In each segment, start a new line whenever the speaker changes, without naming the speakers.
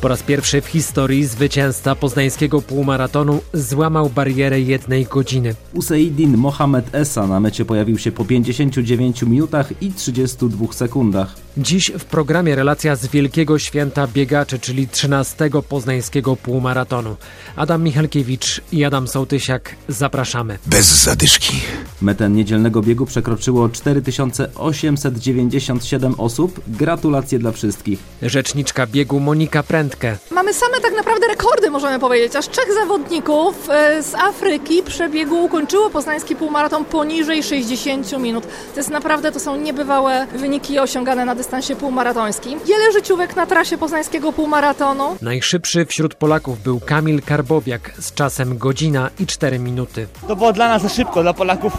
Po raz pierwszy w historii zwycięzca poznańskiego półmaratonu złamał barierę jednej godziny.
Usaidin Mohamed Esa na mecie pojawił się po 59 minutach i 32 sekundach.
Dziś w programie relacja z Wielkiego Święta Biegaczy, czyli 13 poznańskiego półmaratonu. Adam Michalkiewicz i Adam Sołtysiak, zapraszamy.
Bez zadyszki.
Metę niedzielnego biegu przekroczyło 4897 osób. Gratulacje dla wszystkich.
Rzeczniczka biegu Monika Prędkę,
Mamy same tak naprawdę rekordy, możemy powiedzieć. Aż trzech zawodników e, z Afryki przebiegu ukończyło poznański półmaraton poniżej 60 minut. To jest naprawdę, to są niebywałe wyniki osiągane na dystansie półmaratońskim. Wiele życiówek na trasie poznańskiego półmaratonu.
Najszybszy wśród Polaków był Kamil Karbowiak z czasem godzina i 4 minuty.
To było dla nas za szybko, dla Polaków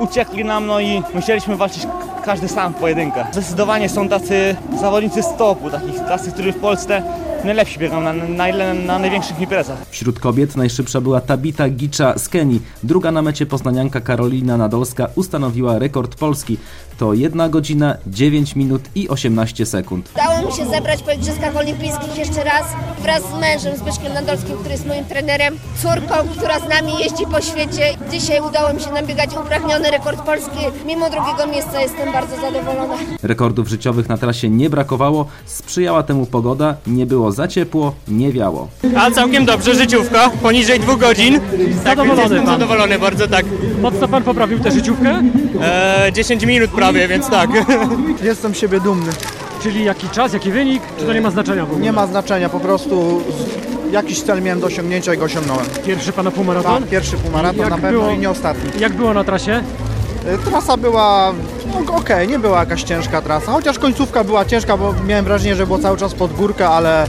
uciekli nam, no i musieliśmy walczyć każdy sam w pojedynkę. Zdecydowanie są tacy zawodnicy z topu, takich tacy, którzy w Polsce najlepsi biegą na, na, na, na największych imprezach.
Wśród kobiet najszybsza była Tabita Gicza z Kenii. Druga na mecie poznanianka Karolina Nadolska ustanowiła rekord Polski. To 1 godzina 9 minut i 18 sekund.
Udało mi się zebrać po Igrzyskach Olimpijskich jeszcze raz wraz z mężem Zbyszkiem Nadolskim, który jest moim trenerem, córką, która z nami jeździ po świecie. Dzisiaj udało mi się nabiegać upragniony rekord Polski. Mimo drugiego miejsca jestem bardzo zadowolona.
Rekordów życiowych na trasie nie brakowało. Sprzyjała temu pogoda, nie było za ciepło, nie wiało.
A całkiem dobrze, życiówka, poniżej dwóch godzin. Tak, więc jestem zadowolony bardzo, tak.
Mocno pan poprawił tę życiówkę?
E, 10 minut prawie, więc tak.
Jestem z siebie dumny.
Czyli jaki czas, jaki wynik? Czy to nie ma znaczenia w ogóle?
Nie ma znaczenia, po prostu z- jakiś cel miałem do osiągnięcia i go osiągnąłem.
Pierwszy pana
Tak,
półmaraton?
pierwszy półmaraton
Jak
na pewno
było?
i nie ostatni.
Jak było na trasie?
Y, Trasa była no, okej, nie była jakaś ciężka trasa, chociaż końcówka była ciężka, bo miałem wrażenie, że było cały czas pod górkę, ale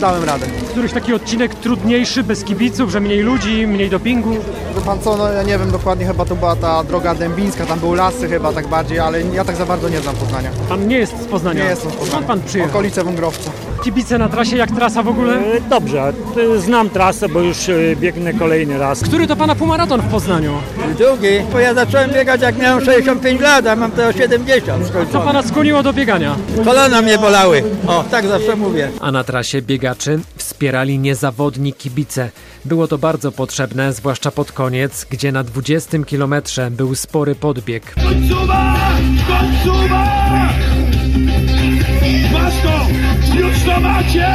dałem radę.
Któryś taki odcinek trudniejszy, bez kibiców, że mniej ludzi, mniej dopingu?
Wie pan co, no ja nie wiem dokładnie, chyba to była ta droga dębińska, tam były lasy chyba tak bardziej, ale ja tak za bardzo nie znam Poznania.
Pan nie jest z Poznania.
Nie jestem z
Skąd
Poznania.
pan przyjechał?
Okolice Wągrowca.
Kibice na trasie, jak trasa w ogóle?
E, Dobrze, znam trasę, bo już e, biegnę kolejny raz.
Który to pana półmaraton w Poznaniu?
Drugi, bo ja zacząłem biegać jak miałem 65 lat, a mam teraz 70
Co
skończone.
pana skłoniło do biegania?
Kolana mnie bolały, o tak zawsze mówię.
A na trasie biegaczy wspierali niezawodni kibice. Było to bardzo potrzebne, zwłaszcza pod koniec, gdzie na 20 kilometrze był spory podbieg.
Już to macie!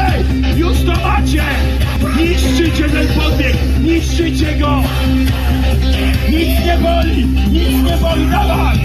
Już to macie! Niszczycie ten podbieg! Niszczycie go! Nic nie boli! Nic nie boli! Dawaj!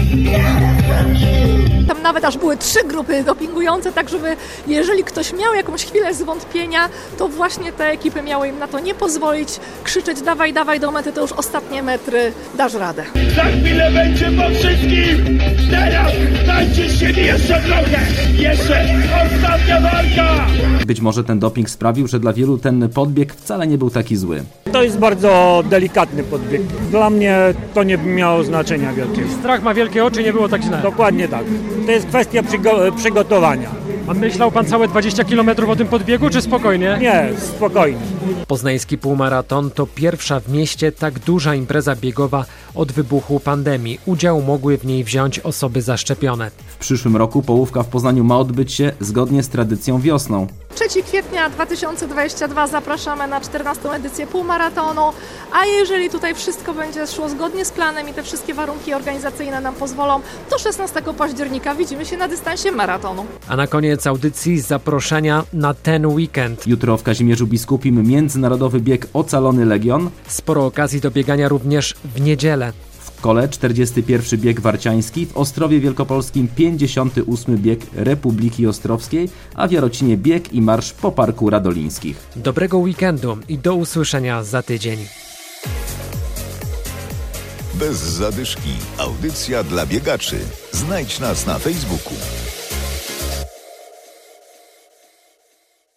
Tam nawet aż były trzy grupy dopingujące, tak żeby jeżeli ktoś miał jakąś chwilę zwątpienia, to właśnie te ekipy miały im na to nie pozwolić, krzyczeć dawaj, dawaj do mety, to już ostatnie metry, dasz radę.
Za chwilę będzie po wszystkim! Teraz dajcie z siebie jeszcze trochę! Jeszcze ostatnia walka!
Być może ten doping sprawił, że dla wielu ten podbieg wcale nie był taki zły.
To jest bardzo delikatny podbieg. Dla mnie to nie miało znaczenia wielkiego.
Strach ma wielkie oczy, nie było tak źle.
Dokładnie tak. To jest kwestia przygo- przygotowania.
A myślał pan całe 20 km o tym podbiegu, czy spokojnie?
Nie, spokojnie.
Poznański półmaraton to pierwsza w mieście tak duża impreza biegowa od wybuchu pandemii. Udział mogły w niej wziąć osoby zaszczepione.
W przyszłym roku połówka w Poznaniu ma odbyć się zgodnie z tradycją wiosną.
3 kwietnia 2022 zapraszamy na 14 edycję półmaratonu, a jeżeli tutaj wszystko będzie szło zgodnie z planem i te wszystkie warunki organizacyjne nam pozwolą, to 16 października widzimy się na dystansie maratonu.
A na koniec audycji zaproszenia na ten weekend.
Jutro w Kazimierzu Biskupim międzynarodowy bieg Ocalony Legion,
Sporo okazji do biegania również w niedzielę.
w kole 41 bieg Warciański, w Ostrowie Wielkopolskim 58 bieg Republiki Ostrowskiej, a w Jarocinie bieg i marsz po Parku Radolińskich.
Dobrego weekendu i do usłyszenia za tydzień.
Bez zadyszki. Audycja dla biegaczy. Znajdź nas na Facebooku.